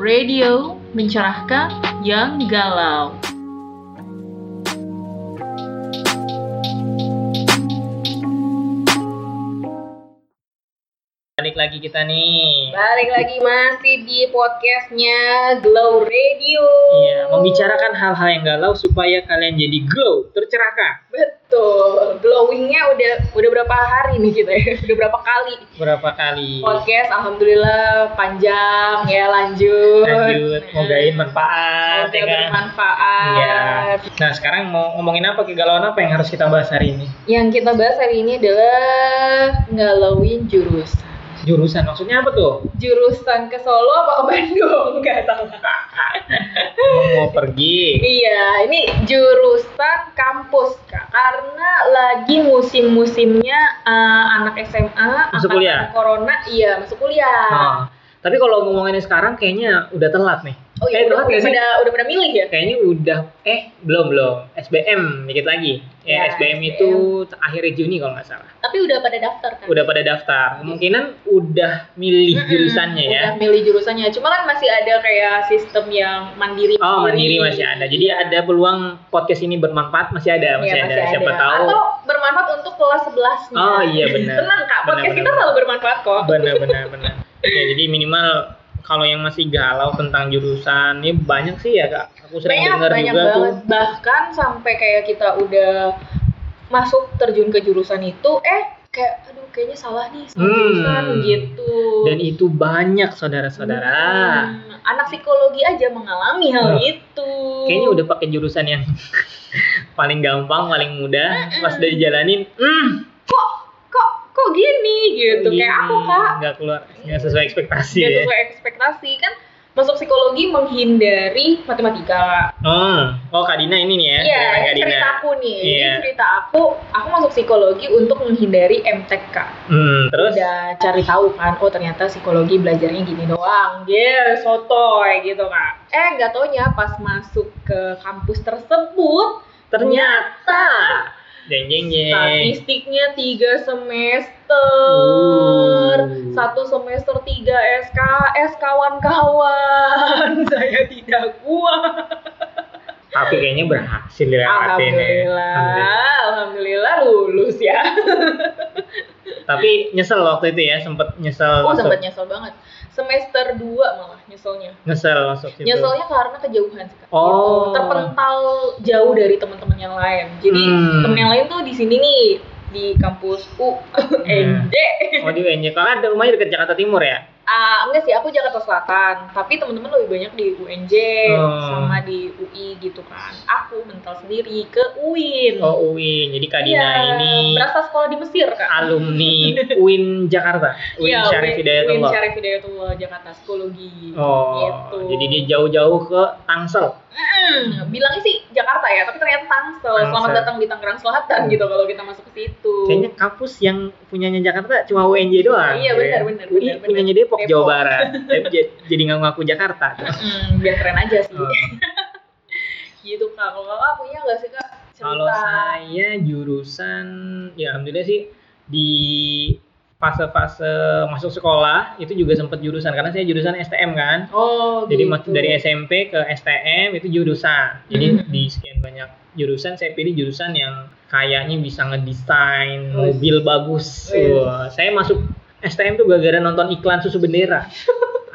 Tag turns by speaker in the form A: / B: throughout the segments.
A: Radio mencerahkan yang galau.
B: Balik lagi kita nih.
C: Balik lagi masih di podcastnya Glow Radio.
B: Iya, membicarakan hal-hal yang galau supaya kalian jadi glow, tercerahkan.
C: Betul. Glowingnya udah udah berapa hari nih kita ya? Udah berapa kali?
B: Berapa kali?
C: Podcast alhamdulillah panjang ya lanjut.
B: Lanjut, mogain
C: Semoga
B: manfaat, ya kan?
C: bermanfaat.
B: Iya. Nah, sekarang mau ngomongin apa kegalauan apa yang harus kita bahas hari ini?
C: Yang kita bahas hari ini adalah galauin jurusan.
B: Jurusan maksudnya apa tuh?
C: Jurusan ke Solo apa ke Bandung? Enggak tahu.
B: Mau- mau pergi.
C: Iya, ini jurusan kampus kak. Karena lagi musim-musimnya eh, anak SMA, angkatan
B: Masuk kuliah?
C: Corona, iya masuk kuliah.
B: Nah, tapi kalau ngomonginnya sekarang kayaknya udah telat nih.
C: Oh iya,
B: Eh,
C: udah,
B: telat
C: udah,
B: nggak sih?
C: pada, udah pada milih ya?
B: kayaknya udah eh belum belum SBM dikit lagi ya,
C: Ya, SBM.
B: SBM, itu akhirnya Juni kalau nggak salah
C: Tapi udah pada daftar kan?
B: udah pada daftar kemungkinan udah milih
C: Mm-mm,
B: jurusannya ya
C: Udah milih jurusannya. Cuma kan masih ada kayak sistem yang mandiri.
B: oh mandiri masih ada jadi ada peluang podcast ini bermanfaat masih ada masih,
C: Iya,
B: ada. siapa tahu
C: Atau bermanfaat untuk kelas 11 -nya.
B: oh iya benar
C: Tenang kak,
B: Benar,
C: podcast
B: benar,
C: kita selalu bermanfaat kok.
B: benar benar benar ya jadi minimal kalau yang masih galau tentang jurusan ini banyak sih ya kak aku sering
C: banyak
B: dengar
C: banyak
B: juga
C: banget
B: tuh
C: bahkan sampai kayak kita udah masuk terjun ke jurusan itu eh kayak aduh kayaknya salah nih salah
B: Hmm.
C: jurusan gitu
B: dan itu banyak saudara-saudara
C: Hmm, anak psikologi aja mengalami hal
B: Nah,
C: itu
B: kayaknya udah pakai jurusan yang paling gampang, paling mudah, pas udah dijalanin, hmm,
C: kok kok kok gini gitu
B: gini,
C: kayak aku kak
B: nggak keluar, nggak sesuai ekspektasi
C: gak
B: ya.
C: sesuai ekspektasi kan masuk psikologi menghindari matematika
B: Oh, oh Kak Dina ini nih ya,
C: Iya,
B: kegiatan
C: ini
B: Kak Dina.
C: cerita aku nih.
B: Iya.
C: Ini cerita aku, aku masuk psikologi untuk menghindari MTK.
B: Hmm, terus,
C: udah cari tahu kan oh ternyata psikologi belajarnya gini doang yeah sotoy gitu kak eh nggak taunya pas masuk ke kampus tersebut
B: ternyata, jeng jeng jeng,
C: statistiknya tiga semester
B: Uh.
C: satu semester tiga SKS kawan-kawan saya tidak kuat
B: tapi kayaknya berhasil dilewatin ya. Alhamdulillah.
C: alhamdulillah alhamdulillah lulus ya
B: Tapi nyesel waktu itu ya, sempet nyesel
C: oh
B: masuk,
C: sempat nyesel banget semester 2 malah nyeselnya
B: nyesel masuk situ.
C: Nyeselnya karena kejauhan sih Kak.
B: Gitu. Oh.
C: Gitu. Terpental jauh dari teman-teman yang lain. Jadi
B: Hmm.
C: temen yang lain tuh di sini nih di kampus U NJ.
B: Oh di UNJ, Kakak ada rumahnya deket Jakarta Timur ya?
C: Ah, enggak sih, aku Jakarta Selatan. Tapi teman-teman lebih banyak di UNJ
B: Hmm.
C: sama di UI gitu kan. Aku mental sendiri ke UIN.
B: Oh UIN, jadi Kak Dina
C: Iya,
B: ini Ah,
C: berasal sekolah di Mesir, Kak.
B: alumni UIN Jakarta, UIN
C: Iya,
B: Syarif
C: UIN
B: Hidayatullah.
C: Syarif Hidayatullah Jakarta Psikologi.
B: Oh,
C: gitu.
B: jadi dia jauh-jauh ke Tangsel.
C: Mm, bilangnya sih Jakarta ya, tapi ternyata Tangsel. Selamat
B: Tangsel.
C: datang di Tangerang Selatan gitu kalau kita masuk ke situ.
B: Hmm. Kayaknya kampus yang punyanya Jakarta cuma UNJ doang.
C: Iya, benar, benar,
B: UI
C: benar,
B: punyanya
C: benar.
B: Depok,
C: Depok.
B: Jawa Barat. Tapi j- jadi nggak ngaku Jakarta.
C: Mm, biar keren aja sih.
B: Oh.
C: Gitu kak. Kalau kakak punya nggak sih kak cerita?
B: Kalau saya jurusan, ya alhamdulillah sih di fase-fase masuk sekolah itu juga sempat jurusan karena saya jurusan STM kan.
C: Oh,
B: Jadi
C: gitu.
B: mas- dari SMP ke STM itu jurusan. Jadi
C: Mhm.
B: di sekian banyak jurusan saya pilih jurusan yang kayaknya bisa
C: Wes.
B: ngedesain mobil bagus.
C: Wes.
B: Wah, saya masuk STM tuh gara-gara nonton iklan susu bendera.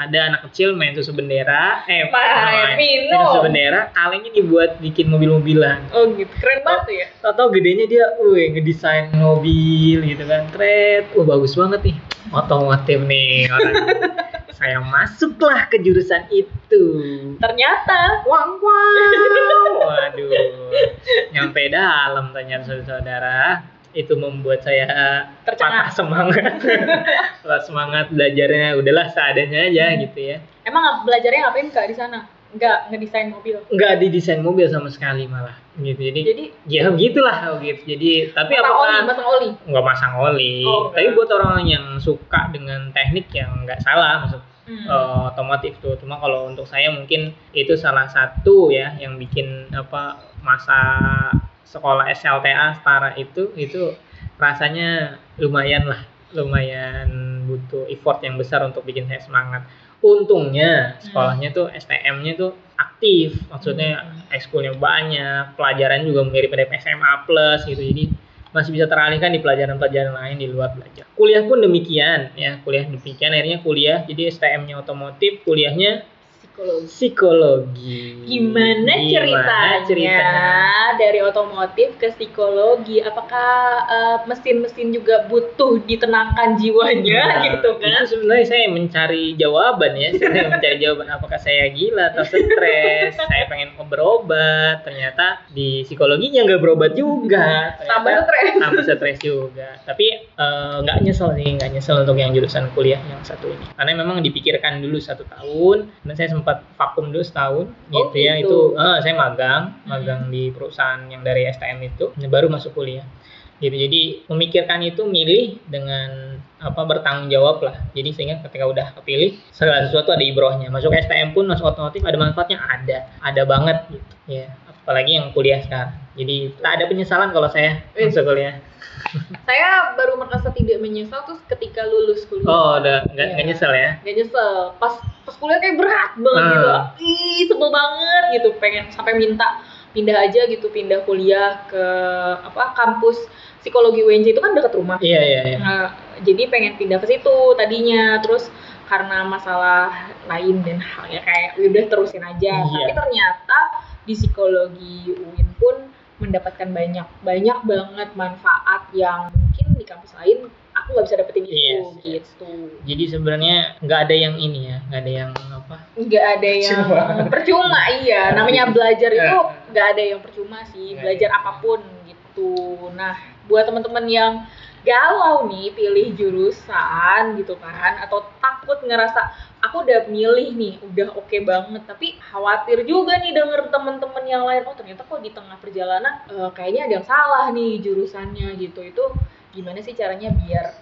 B: Ada anak kecil main susu bendera, eh
C: Main minum.
B: susu bendera, kalengnya dibuat bikin mobil-mobilan.
C: Oh gitu. Keren banget tuh ya.
B: Tahu gedenya dia, wih ngedesain mobil gitu kan, keren. Wah bagus banget nih, otomotif nih orang. saya masuklah ke jurusan itu.
C: Ternyata.
B: Wang wang. Waduh. Nyampe dalam ternyata saudara-saudara itu membuat saya
C: Tercengang.
B: patah semangat. patah semangat belajarnya udahlah seadanya aja gitu ya.
C: Emang belajarnya ngapain kak di sana? Nggak ngedesain mobil.
B: Enggak didesain mobil sama sekali malah. Gitu. Jadi,
C: Jadi
B: ya begitulah gitu. Jadi tapi
C: masang oli,
B: apakah
C: masang oli.
B: nggak masang oli.
C: Oh, enggak.
B: Tapi buat orang yang suka dengan teknik yang nggak salah maksud
C: Hmm.
B: eh, otomotif tuh. Cuma kalau untuk saya mungkin itu salah satu ya yang bikin apa masa sekolah SLTA setara itu itu rasanya lumayan lah, lumayan butuh gitu effort yang besar untuk bikin saya semangat
C: Hmm.
B: untungnya sekolahnya tuh STM-nya tuh aktif maksudnya ekskulnya banyak pelajaran juga mirip-mirip SMA plus gitu jadi masih bisa teralihkan di pelajaran-pelajaran lain di luar belajar kuliah pun demikian ya kuliah demikian akhirnya kuliah jadi STM-nya otomotif kuliahnya
C: psikologi.
B: psikologi
C: Gimana ceritanya dari otomotif ke psikologi? Apakah eh, mesin-mesin juga butuh ditenangkan jiwanya
B: Nah,
C: gitu kan?
B: Itu sebenarnya saya mencari jawaban ya. Saya mencari jawaban apakah saya gila atau stres. saya pengen berobat. Ternyata di psikologinya nggak berobat juga. Ternyata
C: Tambah stres.
B: tambah stres juga. Tapi eh, nggak nyesel sih, nggak nyesel untuk yang jurusan kuliah yang satu ini. Karena memang dipikirkan dulu satu tahun. Dan saya sempat vakum dulu setahun.
C: Oh,
B: Gitu ya.
C: gitu. Hmm.
B: Itu eh, saya magang, magang di perusahaan yang dari STM itu. Baru masuk kuliah gitu jadi memikirkan itu milih dengan apa bertanggung jawab lah jadi sehingga ketika udah kepilih segala sesuatu ada ibrohnya masuk STM pun masuk otomotif ada manfaatnya ada ada banget gitu ya apalagi yang kuliah sekarang jadi tak ada penyesalan kalau saya
C: Wih.
B: masuk kuliah
C: Saya baru merasa tidak menyesal terus ketika lulus kuliah.
B: oh udah nggak nggak
C: Iya.
B: nyesel ya
C: Gak nyesel. Pas pas kuliah kayak berat banget
B: Hmm.
C: gitu. Ih, sebel banget gitu. Pengen sampai minta pindah aja gitu, pindah kuliah ke apa kampus psikologi UNJ itu kan dekat rumah.
B: iya iya iya
C: Nah, jadi pengen pindah ke situ tadinya terus karena masalah lain dan hal ya kayak udah terusin aja
B: Iya.
C: tapi ternyata di psikologi UIN pun mendapatkan banyak banyak banget manfaat yang mungkin di kampus lain aku nggak bisa dapetin itu
B: Yes, yes.
C: gitu
B: jadi sebenarnya nggak ada yang ini ya nggak ada yang apa
C: nggak ada yang
B: Percuma.
C: percuma iya namanya belajar itu
B: Ya.
C: nggak ada yang percuma sih
B: Ya,
C: belajar
B: ya.
C: apapun gitu nah buat teman-teman yang galau nih pilih jurusan gitu kan atau takut ngerasa aku udah milih nih udah oke banget tapi khawatir juga nih denger teman-teman yang lain oh ternyata kok di tengah perjalanan eh, kayaknya ada yang salah nih jurusannya gitu itu gimana sih caranya biar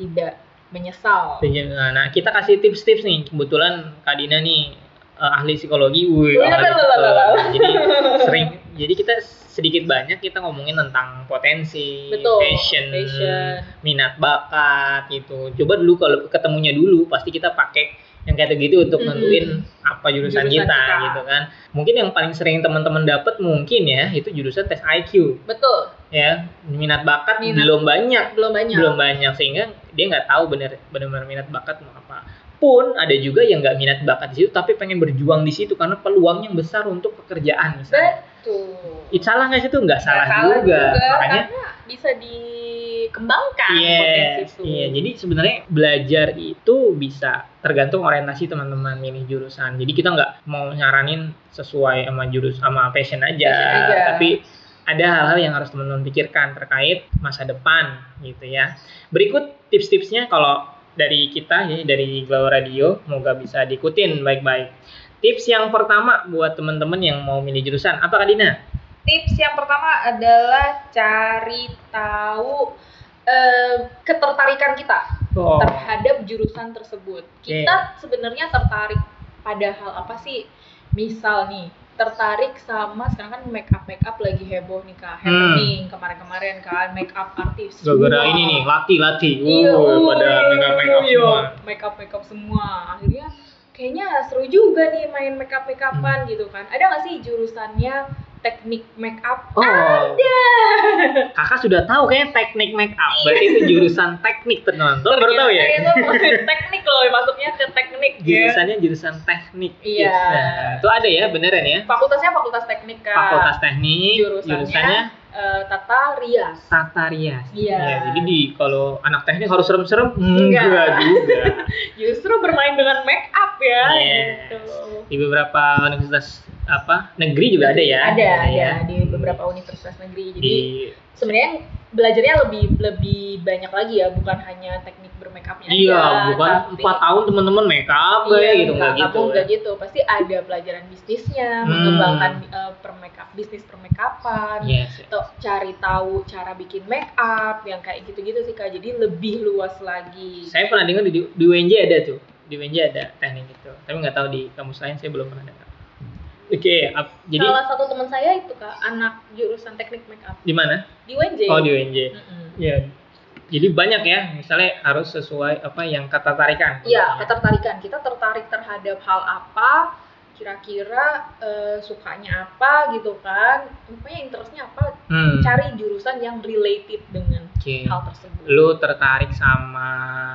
C: tidak menyesal
B: Pinjam- Nah, nah, kita kasih tips-tips nih. Kebetulan Kak Dina nih eh, ahli psikologi. Wih,
C: Wih,
B: ahli
C: lalalala.
B: psikologi. Jadi sering jadi kita sedikit banyak kita ngomongin tentang potensi,
C: Betul,
B: passion,
C: passion.
B: minat bakat gitu. Coba dulu kalau ketemunya dulu pasti kita pakai yang kayak gitu untuk
C: Mm-mm.
B: nentuin apa
C: Jurusan
B: jurusan, kita,
C: kita.
B: gitu kan. Mungkin yang paling sering teman-teman dapat mungkin ya itu jurusan tes IQ
C: betul
B: ya. Minat bakat
C: Minat.
B: belum banyak
C: belum banyak
B: belum banyak sehingga dia nggak tahu bener benar minat bakat mau apa pun ada juga yang nggak minat bakat di situ tapi pengen berjuang di situ karena peluangnya yang besar untuk pekerjaan misalnya
C: betul
B: It salah nggak sih itu nggak salah,
C: Nggak
B: juga. makanya
C: karena bisa dikembangkan potensi
B: Yes,
C: kan, itu.
B: iya. Jadi sebenarnya belajar itu bisa tergantung orientasi teman-teman milih jurusan. Jadi kita nggak mau nyaranin sesuai sama jurus sama passion aja,
C: Passion aja.
B: tapi ada hal-hal yang harus teman-teman pikirkan terkait masa depan gitu ya. Berikut tips-tipsnya kalau dari kita ya dari Glow Radio, moga bisa diikutin baik-baik. Tips yang pertama buat teman-teman yang mau milih jurusan, apa Kak Dina?
C: tips yang pertama adalah cari tahu eh, ketertarikan kita
B: Oh,
C: terhadap jurusan tersebut. Kita sebenarnya tertarik pada hal apa sih? Misal nih, tertarik sama sekarang kan make up make up lagi heboh nih kak,
B: Hmm.
C: happening kemarin-kemarin kan make up artis.
B: gara-gara
C: Semua.
B: ini nih, lati-lati.
C: Iya,
B: Wuh,
C: wuh,
B: pada mega-mega
C: iya.
B: semua.
C: Make up make up semua. Akhirnya kayaknya seru juga nih main make up make upan
B: Hmm.
C: gitu kan. Ada nggak sih jurusannya teknik make up?
B: Oh. Kakak sudah tahu kayaknya teknik make up. Berarti itu jurusan teknik ternyata. Lo baru tahu ya?
C: Ternyata Itu teknik loh, masuknya ke teknik ya.
B: Jurusannya jurusan teknik.
C: Iya.
B: Nah, itu ada ya beneran ya?
C: Fakultasnya fakultas teknik kan.
B: Fakultas Teknik,
C: jurusannya, eh, tata rias.
B: tata rias.
C: Iya.
B: Ya, jadi di kalau anak teknik harus serem-serem
C: Enggak.
B: enggak juga.
C: Justru bermain dengan make up ya
B: Yes.
C: gitu.
B: Di beberapa universitas apa negeri juga ada ya?
C: Ada, ada
B: ya.
C: di beberapa universitas negeri. Jadi
B: Di
C: sebenarnya belajarnya lebih lebih banyak lagi ya bukan hanya teknik bermake upnya
B: Iya,
C: aja,
B: bukan
C: tapi-
B: empat tahun teman-teman make up
C: Iya,
B: gitu enggak gitu.
C: nggak gitu. Pasti ada pelajaran bisnisnya,
B: Hmm.
C: mengembangkan eh, per-make up, bisnis permakeupan,
B: Yes.
C: atau cari tahu cara bikin make up yang kayak gitu-gitu sih Kak. Jadi lebih luas lagi.
B: Saya pernah dengar di, di UNJ ada tuh. Di UNJ ada teknik itu. Tapi nggak tahu di kampus lain saya belum pernah dengar. Oke, ap- jadi
C: Salah satu teman saya itu Kak, anak jurusan teknik make up
B: di mana?
C: di UNJ.
B: Oh, di UNJ.
C: Mm-mm.
B: Ya. Jadi banyak ya, misalnya harus sesuai apa yang kata tarikan.
C: Iya, ketertarikan. Kita tertarik terhadap hal apa, kira-kira eh, sukanya apa gitu kan. Pokoknya interestnya apa,
B: Hmm,
C: cari jurusan yang related dengan
B: oke.
C: hal tersebut.
B: Lu tertarik sama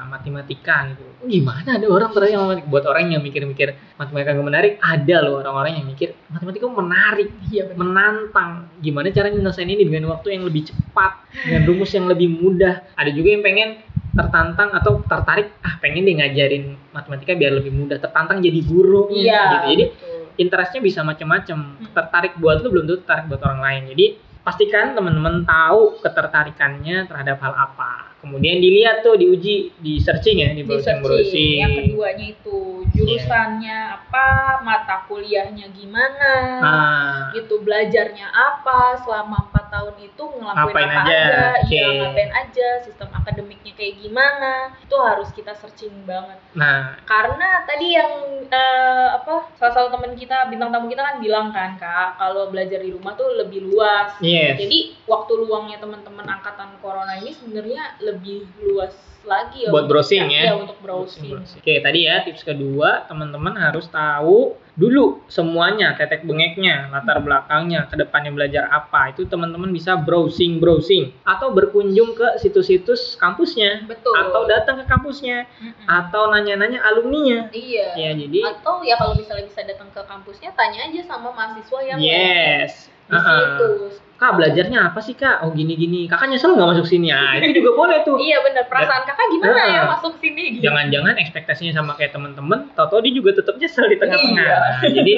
B: matematika gitu. Oh, Gimana ada orang tertarik sama matematika? Buat orang yang mikir-mikir matematika gak menarik, ada loh orang-orang yang mikir matematika menarik.
C: Iya benar.
B: menantang gimana caranya nyelesain ini dengan waktu yang lebih cepat dengan rumus yang lebih mudah ada juga yang pengen tertantang atau tertarik ah pengen deh ngajarin matematika biar lebih mudah tertantang jadi guru
C: Iya. Hmm.
B: gitu jadi
C: betul.
B: interestnya bisa macam-macam tertarik buat lu belum tentu tertarik buat orang lain jadi pastikan teman-teman tahu ketertarikannya terhadap hal apa kemudian dilihat tuh diuji di searching ya
C: Di
B: di browsing
C: searching.
B: browsing Iya.
C: Yang keduanya itu jurusannya apa, mata kuliahnya gimana,
B: ah
C: gitu belajarnya apa selama 4 tahun itu ngelakuin
B: Ngapain
C: apa
B: aja,
C: aja,
B: oke.
C: iya ngapain aja, sistem akademiknya kayak gimana, itu harus kita searching banget.
B: nah
C: Karena tadi yang eh, apa salah satu teman kita bintang tamu kita kan bilang kan kak kalau belajar di rumah tuh lebih luas.
B: yes
C: Jadi waktu luangnya teman-teman angkatan corona ini sebenarnya lebih luas lagi ya
B: Buat
C: untuk-
B: browsing ya.
C: Iya, untuk browsing.
B: Oke, tadi ya tips kedua, teman-teman harus tahu dulu semuanya, tetek bengeknya, latar belakangnya, kedepannya belajar apa. Itu teman-teman bisa browsing-browsing atau berkunjung ke situs-situs kampusnya
C: Betul.
B: atau datang ke kampusnya
C: Mm-mm.
B: atau nanya-nanya alumninya.
C: Iya.
B: Ya, jadi
C: atau ya kalau misalnya bisa datang ke kampusnya tanya aja sama mahasiswa yang lain
B: yes.
C: di situ
B: Uh-uh. Kak belajarnya apa sih kak? Oh gini-gini. Kakak nyesel nggak masuk sini? Ah itu juga boleh tuh.
C: iya bener perasaan kakak gimana ya
B: Ah.
C: masuk sini gitu
B: jangan-jangan ekspektasinya sama kayak temen-temen, tau-tau dia juga tetap nyesel di tengah-tengah.
C: Iya.
B: Nah, jadi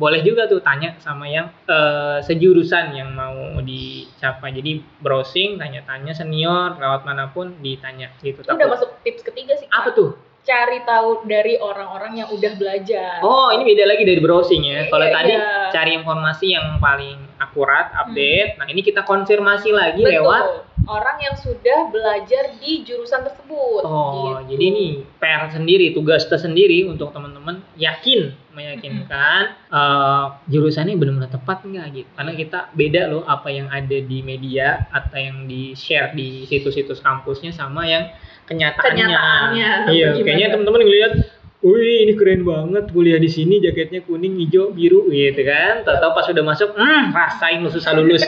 B: boleh juga tuh tanya sama yang eh, sejurusan yang mau dicapai. Jadi browsing, tanya-tanya senior, lewat manapun ditanya gitu.
C: Itu udah
B: Takut-
C: masuk tips ketiga sih Kak.
B: Apa tuh?
C: cari tahu dari orang-orang yang udah belajar
B: Oh, ini beda lagi dari browsing ya. Kalau
C: Iya,
B: tadi
C: iya.
B: cari informasi yang paling akurat, update. Nah, ini kita konfirmasi
C: Hmm.
B: lagi
C: Betul.
B: lewat
C: orang yang sudah belajar di jurusan tersebut
B: Oh,
C: gitu.
B: jadi ini PR sendiri, tugas tersendiri untuk teman-teman yakin meyakinkan eh, jurusannya benar-benar tepat nggak gitu. Karena kita beda loh apa yang ada di media atau yang di share di situs-situs kampusnya sama yang kenyataannya.
C: Kenyataannya,
B: Iya,
C: gimana?
B: kayaknya teman-teman ngelihat Wih, ini keren banget kuliah di sini jaketnya kuning, hijau, biru gitu kan. Tahu-tahu pas udah masuk, hmm, rasain lu susah lulus.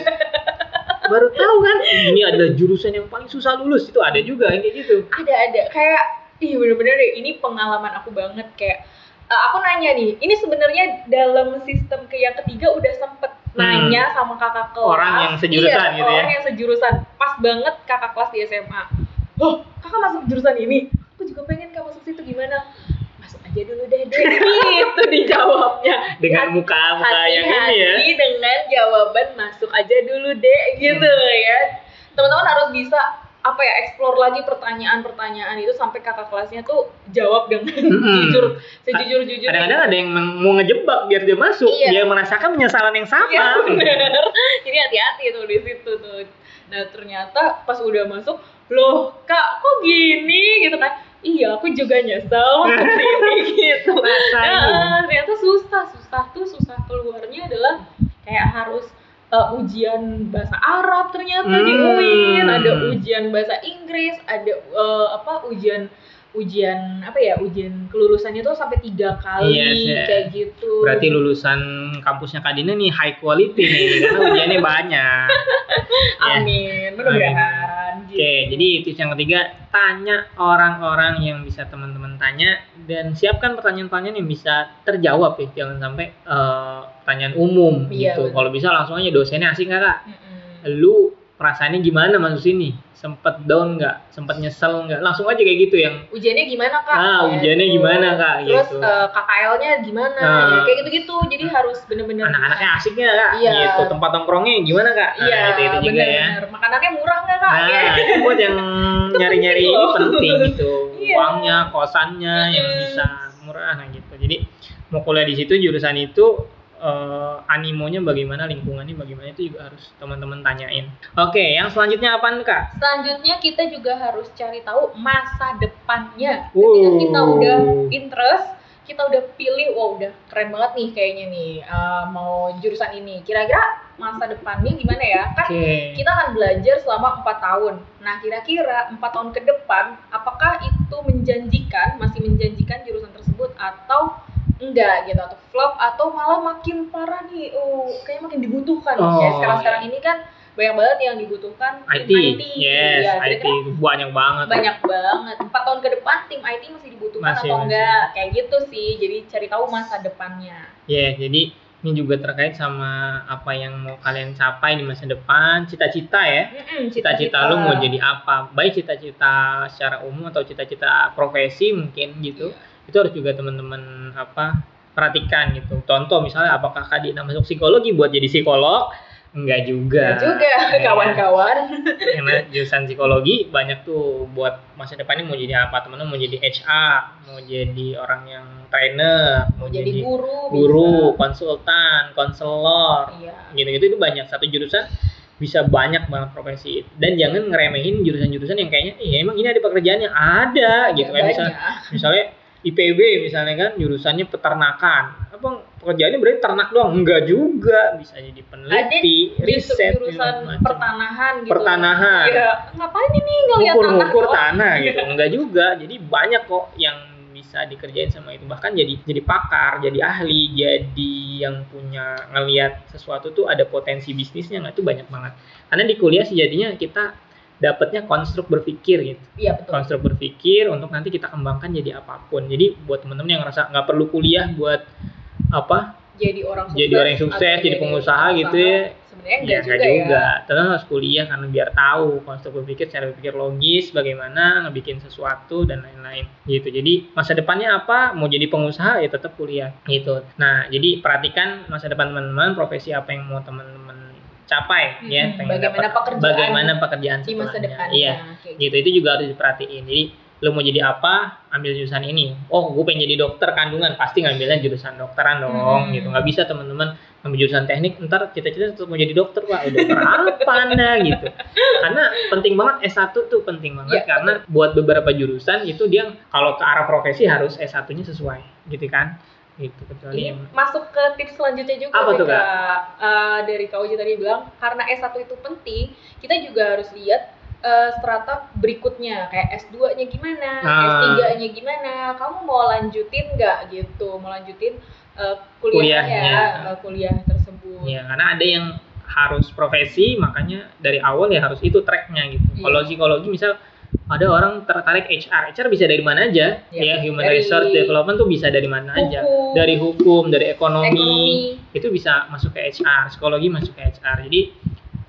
B: Baru tahu kan, ini adalah jurusan yang paling susah lulus. Itu ada juga yang kayak gitu.
C: ada ada kayak ih bener-bener deh, ini pengalaman aku banget kayak eh, aku nanya nih ini sebenarnya dalam sistem ke yang ketiga udah sempet nanya sama kakak kelas
B: Hmm. Orang yang sejurusan
C: Iya,
B: gitu ya.
C: orang yang sejurusan pas banget kakak kelas di SMA oh kakak masuk jurusan ini aku juga pengen kakak masuk situ gimana masuk aja dulu deh deh gitu dijawabnya
B: dengan muka-muka yang ini ya.
C: hati-hati dengan jawaban masuk aja dulu deh gitu
B: Hmm.
C: ya teman-teman harus bisa apa ya explore lagi pertanyaan-pertanyaan itu sampai kakak kelasnya tuh jawab dengan
B: Mm-mm.
C: jujur sejujur jujurnya
B: Hmm. Kadang-kadang ada yang meng- mau ngejebak biar dia masuk,
C: Iya.
B: dia merasakan penyesalan yang sama.
C: Iya bener. Jadi hati-hati tuh di situ tuh. Nah ternyata pas udah masuk, loh kak kok gini gitu kan? Iya aku juga nyesel masuk sini gitu.
B: Rasain.
C: Nah, ternyata susah susah tuh susah keluarnya adalah kayak harus eh, ujian bahasa Arab ternyata di
B: Hmm.
C: UIN, ada ujian bahasa Inggris, ada eh, apa ujian ujian apa ya ujian kelulusannya tuh sampai tiga kali
B: Yes, yes.
C: kayak gitu.
B: Iya, Berarti lulusan kampusnya Kadina nih high quality nih, karena ujiannya banyak. Ya.
C: Amin, mudah-mudahan.
B: Oke, jadi tips yang ketiga, tanya orang-orang yang bisa teman-teman tanya dan siapkan pertanyaan-pertanyaan yang bisa terjawab ya, jangan sampai eh, pertanyaan umum
C: Iya,
B: gitu.
C: betul.
B: Kalau bisa langsung aja dosennya asing nggak kak?
C: Mm-mm.
B: lu perasaannya gimana masuk sini? Sempet down nggak? Sempet nyesel nggak? Langsung aja kayak gitu yang
C: Ujiannya gimana kak?
B: Ah,
C: Ya,
B: ujiannya
C: gitu.
B: gimana, Kak?
C: Terus
B: Gitu.
C: eh, KKL-nya gimana?
B: Nah.
C: Ya, kayak gitu-gitu. Jadi harus bener-bener.
B: anak-anaknya asik nggak kak?
C: Ya. Iya.
B: Gitu. Tempat nongkrongnya gimana kak? Nah,
C: Iya,
B: itu, itu juga ya.
C: bener-bener. Makanannya murah nggak kak? Ya.
B: Nah, itu buat yang nyari-nyari
C: penting
B: ini
C: loh.
B: penting gitu.
C: Iya.
B: Uangnya, kosannya yang
C: Mm-mm.
B: bisa murah nah gitu. Jadi mau kuliah di situ jurusan itu eh, animonya bagaimana, lingkungannya bagaimana itu juga harus teman-teman tanyain. Oke, yang selanjutnya apaan kak?
C: Selanjutnya kita juga harus cari tahu masa depannya. Ketika
B: Wow.
C: kita udah interest, kita udah pilih, wow udah keren banget nih kayaknya nih eh, mau jurusan ini. Kira-kira masa depannya gimana ya kan
B: Oke.
C: kita akan belajar selama empat tahun. Nah, kira-kira empat tahun ke depan, apakah itu menjanjikan, masih menjanjikan jurusan tersebut atau enggak gitu atau flop atau malah makin parah nih, oh kayaknya makin dibutuhkan.
B: Oh,
C: ya, sekarang-sekarang ini kan banyak banget yang dibutuhkan tim
B: IT, yes,
C: Ya,
B: IT
C: kira-kira
B: banyak banget.
C: banyak banget. Empat tahun ke depan tim IT masih dibutuhkan
B: Masih,
C: atau
B: masih.
C: enggak? Kayak gitu sih. Jadi cari tahu masa depannya.
B: Ya, jadi ini juga terkait sama apa yang mau kalian capai di masa depan, cita-cita ya.
C: Mm-mm,
B: Cita-cita lu mau jadi apa? Baik cita-cita secara umum atau cita-cita profesi mungkin gitu.
C: Iya.
B: Itu harus juga teman-teman apa perhatikan gitu. Contoh misalnya apakah Kak Dina masuk psikologi buat jadi psikolog? Enggak
C: Ya
B: juga.
C: juga
B: Ya.
C: kawan-kawan.
B: karena jurusan psikologi banyak tuh buat masa depannya mau jadi apa teman-teman mau jadi HR mau jadi orang yang trainer mau
C: jadi
B: jadi,
C: guru
B: guru konsultan konselor
C: bisa. iya
B: gitu-gitu itu banyak satu jurusan bisa banyak banget profesi dan jangan ngeremehin jurusan-jurusan yang kayaknya "Ih, emang ini ada pekerjaannya ada gitu
C: Iya,
B: kan
C: Banyak.
B: misalnya, misalnya IPB misalnya kan jurusannya peternakan apa pekerjaannya berarti ternak doang enggak juga bisa jadi peneliti
C: di
B: riset
C: jurusan
B: segala macam.
C: pertanahan gitu
B: Pertanahan.
C: ya ngapain ini ngeliat tanah
B: ngukur-ngukur
C: doang?
B: tanah gitu enggak juga jadi banyak kok yang bisa dikerjain sama itu bahkan jadi jadi pakar jadi ahli jadi yang punya ngelihat sesuatu tuh ada potensi bisnisnya nggak tuh banyak banget karena di kuliah sih jadinya kita dapatnya konstruk berpikir gitu
C: iya betul
B: konstruk berpikir untuk nanti kita kembangkan jadi apapun jadi buat temen-temen yang ngerasa nggak perlu kuliah buat apa
C: jadi orang sukses
B: Jadi orang yang sukses,
C: atau
B: jadi pengusaha gitu ya.
C: sebenarnya
B: ya
C: enggak
B: nggak
C: juga,
B: juga
C: ya
B: Tetap harus kuliah karena biar tahu konstruk berpikir cara berpikir logis bagaimana ngebikin sesuatu dan lain-lain gitu jadi masa depannya apa mau jadi pengusaha ya tetap kuliah gitu nah jadi perhatikan masa depan teman-teman profesi apa yang mau teman-teman capai
C: Mm-mm,
B: ya
C: bagaimana
B: dapat-
C: pekerjaan
B: bagaimana pekerjaan
C: di masa
B: setelahnya.
C: depannya
B: iya
C: kayak gitu.
B: gitu itu juga harus diperhatiin jadi lu mau jadi apa ambil jurusan ini oh gue pengen jadi dokter kandungan pasti ngambilnya jurusan dokteran dong
C: Hmm.
B: gitu nggak bisa teman-teman ambil jurusan teknik ntar cita-cita tetap mau jadi dokter pak Eh, dokter apa anda gitu karena penting banget S1 tuh penting
C: Ya,
B: banget karena buat beberapa jurusan itu dia kalau ke arah profesi harus S1-nya sesuai gitu kan gitu kecuali
C: Ini
B: yang
C: masuk ke tips selanjutnya juga
B: Apa tuh,
C: sih, Kak. Eh, dari Kak Uji tadi bilang karena S1 itu penting, kita juga harus lihat eh, strata berikutnya kayak S2-nya gimana,
B: Ah.
C: S3-nya gimana. Kamu mau lanjutin nggak gitu? Mau lanjutin eh, kuliahnya,
B: Kuliahnya.
C: eh, kuliah tersebut.
B: Ya, karena ada yang harus profesi, makanya dari awal ya harus itu tracknya gitu.
C: Iya.
B: Kalau psikologi misal ada orang tertarik HR, HR bisa dari mana aja, ya
C: Iya,
B: human
C: dari
B: resource development tuh bisa dari mana aja,
C: Hukum.
B: dari hukum, dari ekonomi,
C: Ekonomi.
B: itu bisa masuk ke HR, psikologi masuk ke HR. Jadi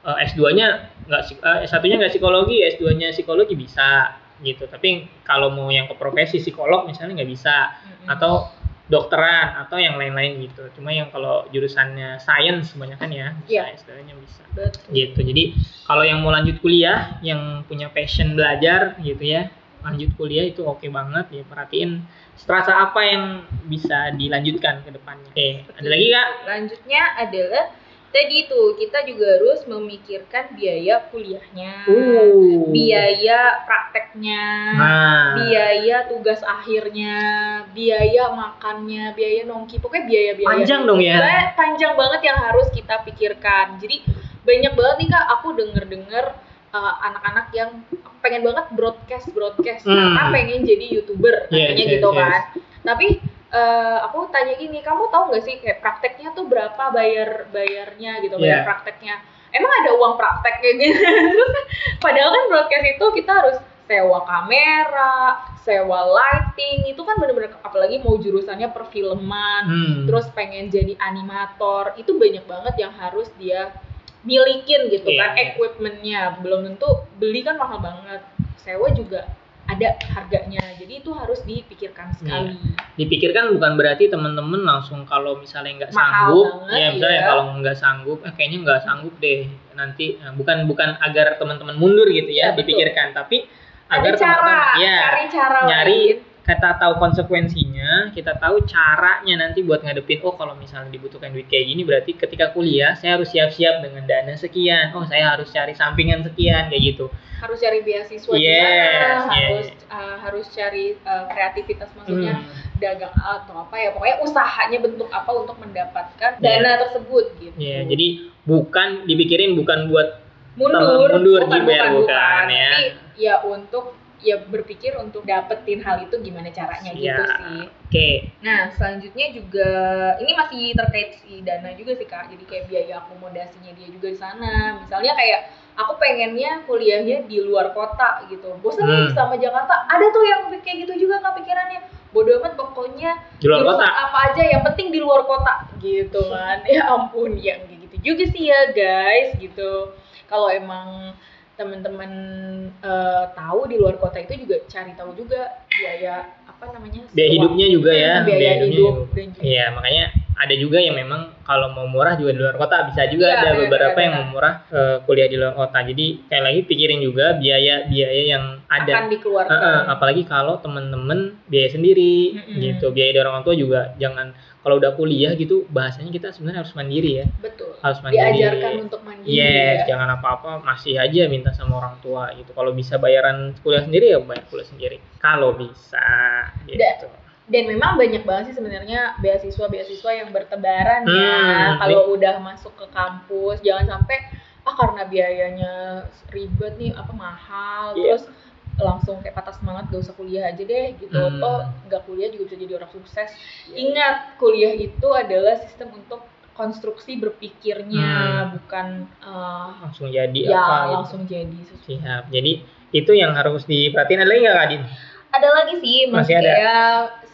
B: eh, S2-nya nggak psik- eh, S1-nya nggak psikologi, S2-nya psikologi bisa gitu. Tapi kalau mau yang ke profesi psikolog misalnya nggak bisa
C: Mm-mm.
B: atau dokteran atau yang lain-lain gitu. Cuma yang kalau jurusannya sains kebanyakan ya,
C: Iya.
B: sains sebenarnya bisa.
C: Betul.
B: Gitu. Jadi kalau yang mau lanjut kuliah, yang punya passion belajar gitu ya, lanjut kuliah itu oke banget ya perhatiin strata apa yang bisa dilanjutkan ke depannya. Oke, ada lagi Kak?
C: Lanjutnya adalah tadi tuh kita juga harus memikirkan biaya kuliahnya.
B: Uh.
C: Biaya prakteknya.
B: Nah,
C: biaya tugas akhirnya, biaya makannya, biaya nongki, pokoknya biaya-biaya. gitu.
B: Panjang dong ya.
C: Pokoknya Panjang banget yang harus kita pikirkan. Jadi banyak banget nih kak, aku denger-denger uh, anak-anak yang pengen banget broadcast broadcast,
B: Hmm.
C: karena pengen jadi youtuber,
B: Yes,
C: katanya
B: yes,
C: gitu
B: yes.
C: kan. Tapi uh, aku tanya gini, kamu tahu nggak sih kayak prakteknya tuh berapa bayar bayarnya gitu, bayar
B: Yeah.
C: prakteknya? Emang ada uang praktek kayak gitu? Terus Padahal kan broadcast itu kita harus sewa kamera, sewa lighting, itu kan bener-bener apalagi mau jurusannya perfilman,
B: hmm.
C: terus pengen jadi animator, itu banyak banget yang harus dia milikin gitu kan,
B: Iya.
C: equipmentnya belum tentu beli kan mahal banget, sewa juga ada harganya, jadi itu harus
B: Iya.
C: dipikirkan sekali.
B: dipikirkan bukan berarti temen-temen langsung kalau misalnya nggak
C: Mahal
B: sanggup
C: banget,
B: ya misalnya
C: iya.
B: kalau nggak sanggup eh, kayaknya nggak sanggup deh nanti nah, bukan bukan agar teman-teman mundur gitu ya,
C: Ya, betul.
B: dipikirkan tapi
C: Ada
B: agar
C: cara,
B: teman-teman ya
C: cari cara
B: nyari
C: lain.
B: kita tahu konsekuensinya kita tahu caranya nanti buat ngadepin oh kalau misalnya dibutuhkan duit kayak gini berarti ketika kuliah saya harus siap-siap dengan dana sekian oh saya harus cari sampingan sekian kayak gitu
C: harus cari beasiswa
B: Yes,
C: di mana,
B: yes.
C: harus uh, harus cari uh, kreativitas maksudnya
B: Hmm.
C: dagang atau apa ya pokoknya usahanya bentuk apa untuk mendapatkan dana tersebut gitu.
B: Iya, jadi bukan dipikirin bukan buat
C: mundur,
B: mundur,
C: bukan,
B: jiper,
C: bukan,
B: bukan, ya.
C: Tapi ya untuk ya berpikir untuk dapetin hal itu gimana caranya gitu
B: Iya.
C: sih.
B: oke Hmm.
C: Nah, selanjutnya juga ini masih terkait si dana juga sih Kak. Jadi kayak biaya akomodasinya dia juga di sana. Misalnya kayak aku pengennya kuliahnya di luar kota gitu. Bosan nih
B: Hmm.
C: sama Jakarta. Ada tuh yang kayak gitu juga Kak pikirannya. Bodoh amat pokoknya
B: di luar
C: jurusan
B: kota.
C: apa aja yang penting di luar kota gitu kan ya ampun ya kayak gitu juga sih ya guys gitu kalau emang teman-teman eh, tahu di luar kota itu juga cari tahu juga biaya apa namanya
B: Biaya
C: sewa-
B: hidupnya juga ya,
C: Hmm, biaya,
B: biaya hidupnya
C: hidup
B: juga.
C: dan juga
B: Iya, makanya ada juga yang memang kalau mau murah juga di luar kota bisa juga
C: Iya,
B: ada
C: benar,
B: beberapa
C: benar,
B: yang mau murah eh, kuliah di luar kota. Jadi kayak lagi pikirin juga biaya-biaya yang ada.
C: akan dikeluarkan
B: Heeh, apalagi kalau temen-temen biaya sendiri
C: Mm-mm.
B: gitu biaya dari orang tua juga jangan kalau udah kuliah gitu bahasanya kita sebenarnya harus mandiri ya
C: betul
B: harus mandiri
C: diajarkan untuk mandiri
B: yes
C: ya.
B: jangan apa-apa masih aja minta sama orang tua gitu kalau bisa bayaran kuliah sendiri ya bayar kuliah sendiri kalau bisa gitu
C: dan memang banyak banget sih sebenarnya beasiswa beasiswa yang bertebaran ya
B: Hmm,
C: kalau udah masuk ke kampus jangan sampai ah karena biayanya ribet nih apa mahal
B: Iya.
C: terus langsung kayak patah semangat gak usah kuliah aja deh gitu
B: Hmm. Iya.
C: toh nggak kuliah juga bisa jadi orang sukses ingat kuliah itu adalah sistem untuk konstruksi berpikirnya
B: Hmm.
C: bukan eh,
B: langsung jadi
C: ya
B: apa gitu.
C: langsung jadi sesuatu
B: siap jadi itu yang harus diperhatiin ada lagi nggak Kak Din?
C: ada lagi sih
B: Masih
C: maksudnya
B: ada.
C: ya,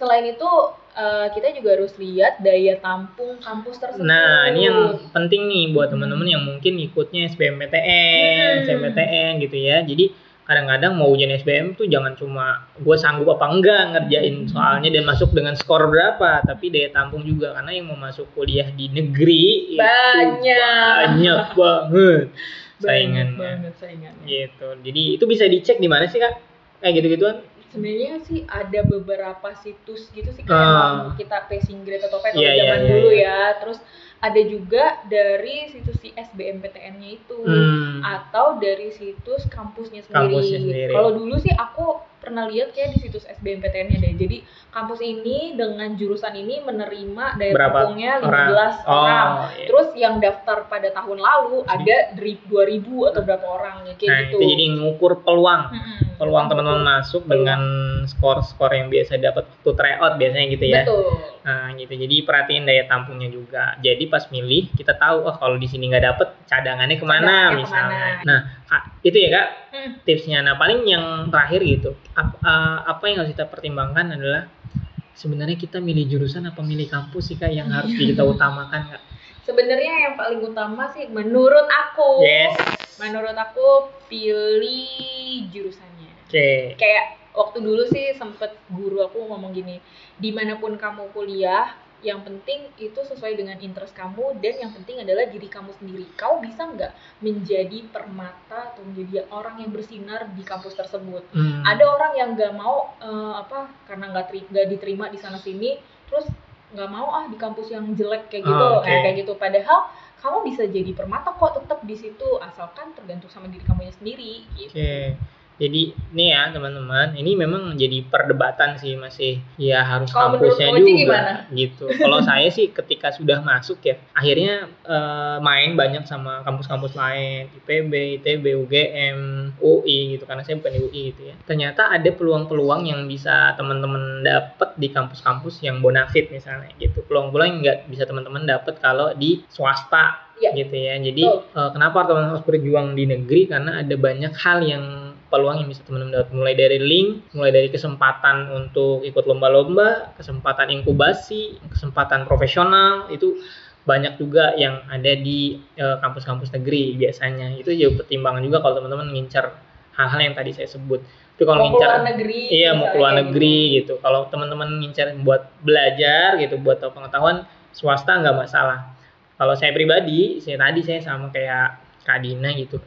C: selain itu eh, kita juga harus lihat daya tampung kampus tersebut
B: Nah, ini yang penting nih buat teman-teman yang mungkin ikutnya SBMPTN,
C: Hmm.
B: SMPTN gitu ya. Jadi kadang-kadang mau ujian SBM tuh jangan cuma gue sanggup apa enggak ngerjain soalnya dan masuk dengan skor berapa, tapi daya tampung juga karena yang mau masuk kuliah di negeri itu
C: Banyak.
B: banyak banget
C: Banyak
B: saingannya.
C: banget saingannya
B: Gitu. Jadi itu bisa dicek di mana sih, Kak? Kayak gitu-gituan.
C: sebenarnya sih ada beberapa situs gitu sih kayak
B: Ah.
C: emang kita passing grade atau apa ya, kalau
B: Iya, iya,
C: zaman
B: iya,
C: dulu
B: iya.
C: ya terus ada juga dari situs si SBMPTN-nya itu
B: Hmm.
C: atau dari situs kampusnya sendiri.
B: Kampusnya sendiri.
C: Kalau dulu sih aku pernah lihat kayak di situs SBMPTN-nya deh. Jadi kampus ini dengan jurusan ini menerima daya
B: Berapa
C: tampungnya 15 orang.
B: Oh, iya. Hmm.
C: Terus yang daftar pada tahun lalu ada dari 2000 atau berapa orang ya, kayak
B: Nah,
C: gitu. Hmm.
B: itu jadi ngukur peluang.
C: Mm-mm.
B: peluang teman-teman masuk dengan skor-skor yang biasa dapat waktu tryout biasanya gitu ya.
C: Betul.
B: Nah, gitu. Jadi perhatiin daya tampungnya juga. Jadi pas milih kita tahu oh kalau di sini nggak dapet cadangannya kemana
C: Cadangannya
B: misalnya.
C: kemana.
B: Nah Kak, itu ya kak
C: Hmm.
B: tipsnya. Nah paling yang terakhir gitu ap- eh, apa yang harus kita pertimbangkan adalah sebenarnya kita milih jurusan apa milih kampus sih kak yang harus
C: Iya.
B: kita utamakan kak.
C: Sebenarnya yang paling utama sih menurut aku.
B: Yes.
C: Menurut aku pilih jurusannya.
B: Oke.
C: kayak waktu dulu sih sempet guru aku ngomong gini dimanapun kamu kuliah yang penting itu sesuai dengan interest kamu dan yang penting adalah diri kamu sendiri kau bisa nggak menjadi permata atau menjadi orang yang bersinar di kampus tersebut
B: Hmm.
C: ada orang yang nggak mau eh, apa karena nggak teri- nggak diterima di sana sini terus nggak mau ah di kampus yang jelek kayak gitu
B: Oh, oke.
C: kayak kayak gitu padahal kamu bisa jadi permata kok tetap di situ asalkan tergantung sama diri kamu sendiri gitu
B: Oke. Jadi nih ya teman-teman, ini memang jadi perdebatan sih masih ya harus
C: Kalau menurut
B: kampusnya
C: Oji
B: juga
C: gimana?
B: gitu. Kalau saya sih ketika sudah masuk ya, akhirnya eh, main banyak sama kampus-kampus lain, IPB, ITB, UGM, UI gitu karena saya bukan di UI gitu ya. Ternyata ada peluang-peluang yang bisa teman-teman dapat di kampus-kampus yang bonafit misalnya gitu. Peluang-peluang yang nggak bisa teman-teman dapat kalau di swasta
C: Iya.
B: gitu ya. Jadi
C: Betul.
B: eh, kenapa teman harus berjuang di negeri karena ada banyak hal yang peluang yang bisa teman-teman dapat mulai dari link, mulai dari kesempatan untuk ikut lomba-lomba, kesempatan inkubasi, kesempatan profesional itu banyak juga yang ada di eh, kampus-kampus negeri biasanya. Itu juga pertimbangan juga kalau teman-teman ngincar hal-hal yang tadi saya sebut. Tapi kalau
C: mau keluar
B: ngincar
C: negeri
B: Iya
C: misalnya
B: mau keluar
C: kayak
B: negeri gitu. Kalau teman-teman ngincar buat belajar gitu, buat tahu pengetahuan swasta nggak masalah. Kalau saya pribadi, saya tadi saya sama kayak Kak Dina gitu,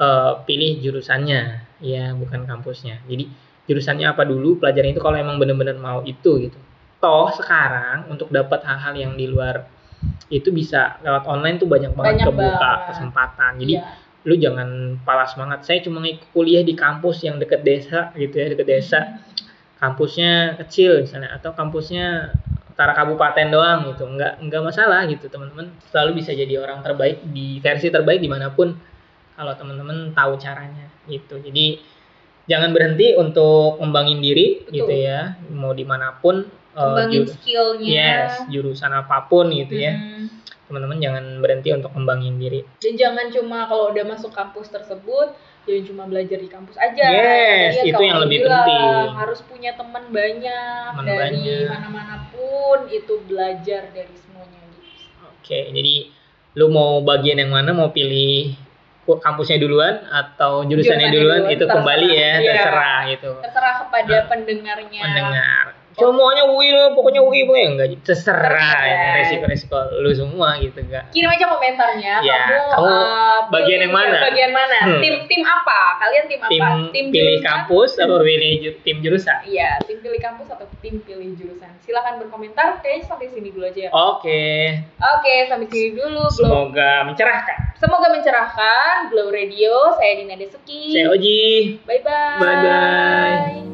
B: Eh, pilih jurusannya, ya bukan kampusnya. Jadi jurusannya apa dulu, pelajaran itu kalau emang benar-benar mau itu gitu. Toh sekarang untuk dapat hal-hal yang di luar itu bisa lewat online tuh banyak banget
C: Banyak
B: kebuka
C: banget.
B: kesempatan. Jadi eh,
C: Iya.
B: lu jangan pala semangat saya cuma ngikut kuliah di kampus yang deket desa gitu ya deket desa kampusnya kecil misalnya atau kampusnya antara kabupaten doang gitu nggak nggak masalah gitu teman-teman selalu bisa jadi orang terbaik di versi terbaik dimanapun kalau teman-teman tahu caranya gitu jadi jangan berhenti untuk ngembangin diri
C: Betul.
B: gitu ya mau dimanapun eh,
C: Kembangin
B: jurus-
C: skillnya.
B: yes jurusan apapun gitu ya
C: Mm.
B: teman-teman jangan berhenti untuk ngembangin diri
C: Dan jangan cuma kalau udah masuk kampus tersebut, jangan cuma belajar di kampus aja.
B: Yes,
C: Tadi ya
B: itu
C: kamu
B: yang lebih
C: bilang,
B: penting.
C: Harus punya teman banyak
B: Teman
C: dari
B: banyak.
C: mana-mana pun itu belajar dari semuanya. gitu.
B: oke jadi lu mau bagian yang mana mau pilih ku- kampusnya duluan atau jurusannya
C: Jurusannya
B: duluan,
C: duluan,
B: itu kembali ya
C: terserah. Iya.
B: terserah gitu
C: Terserah kepada
B: Nah,
C: pendengarnya.
B: mendengar semuanya UI lo pokoknya UI pokoknya enggak gitu. terserah
C: Terserah.
B: ya, resiko-resiko lu semua gitu enggak
C: Kirim aja komentarnya
B: Ya,
C: kamu,
B: kamu
C: eh,
B: bagian
C: pilih
B: yang mana?
C: Bagian mana?
B: Hmm.
C: Tim tim apa? Kalian tim,
B: tim,
C: apa?
B: pilih
C: jurusan?
B: kampus atau pilih ju- tim jurusan
C: Iya, tim pilih kampus atau tim pilih jurusan. Silahkan berkomentar. Kayaknya sampai sini dulu aja ya.
B: oke
C: Oke, sampai sini dulu. Glow
B: Oh. semoga mencerahkan
C: Semoga mencerahkan Glow Radio. Saya Dina Desuki.
B: saya Oji
C: Bye bye.
B: Bye-bye.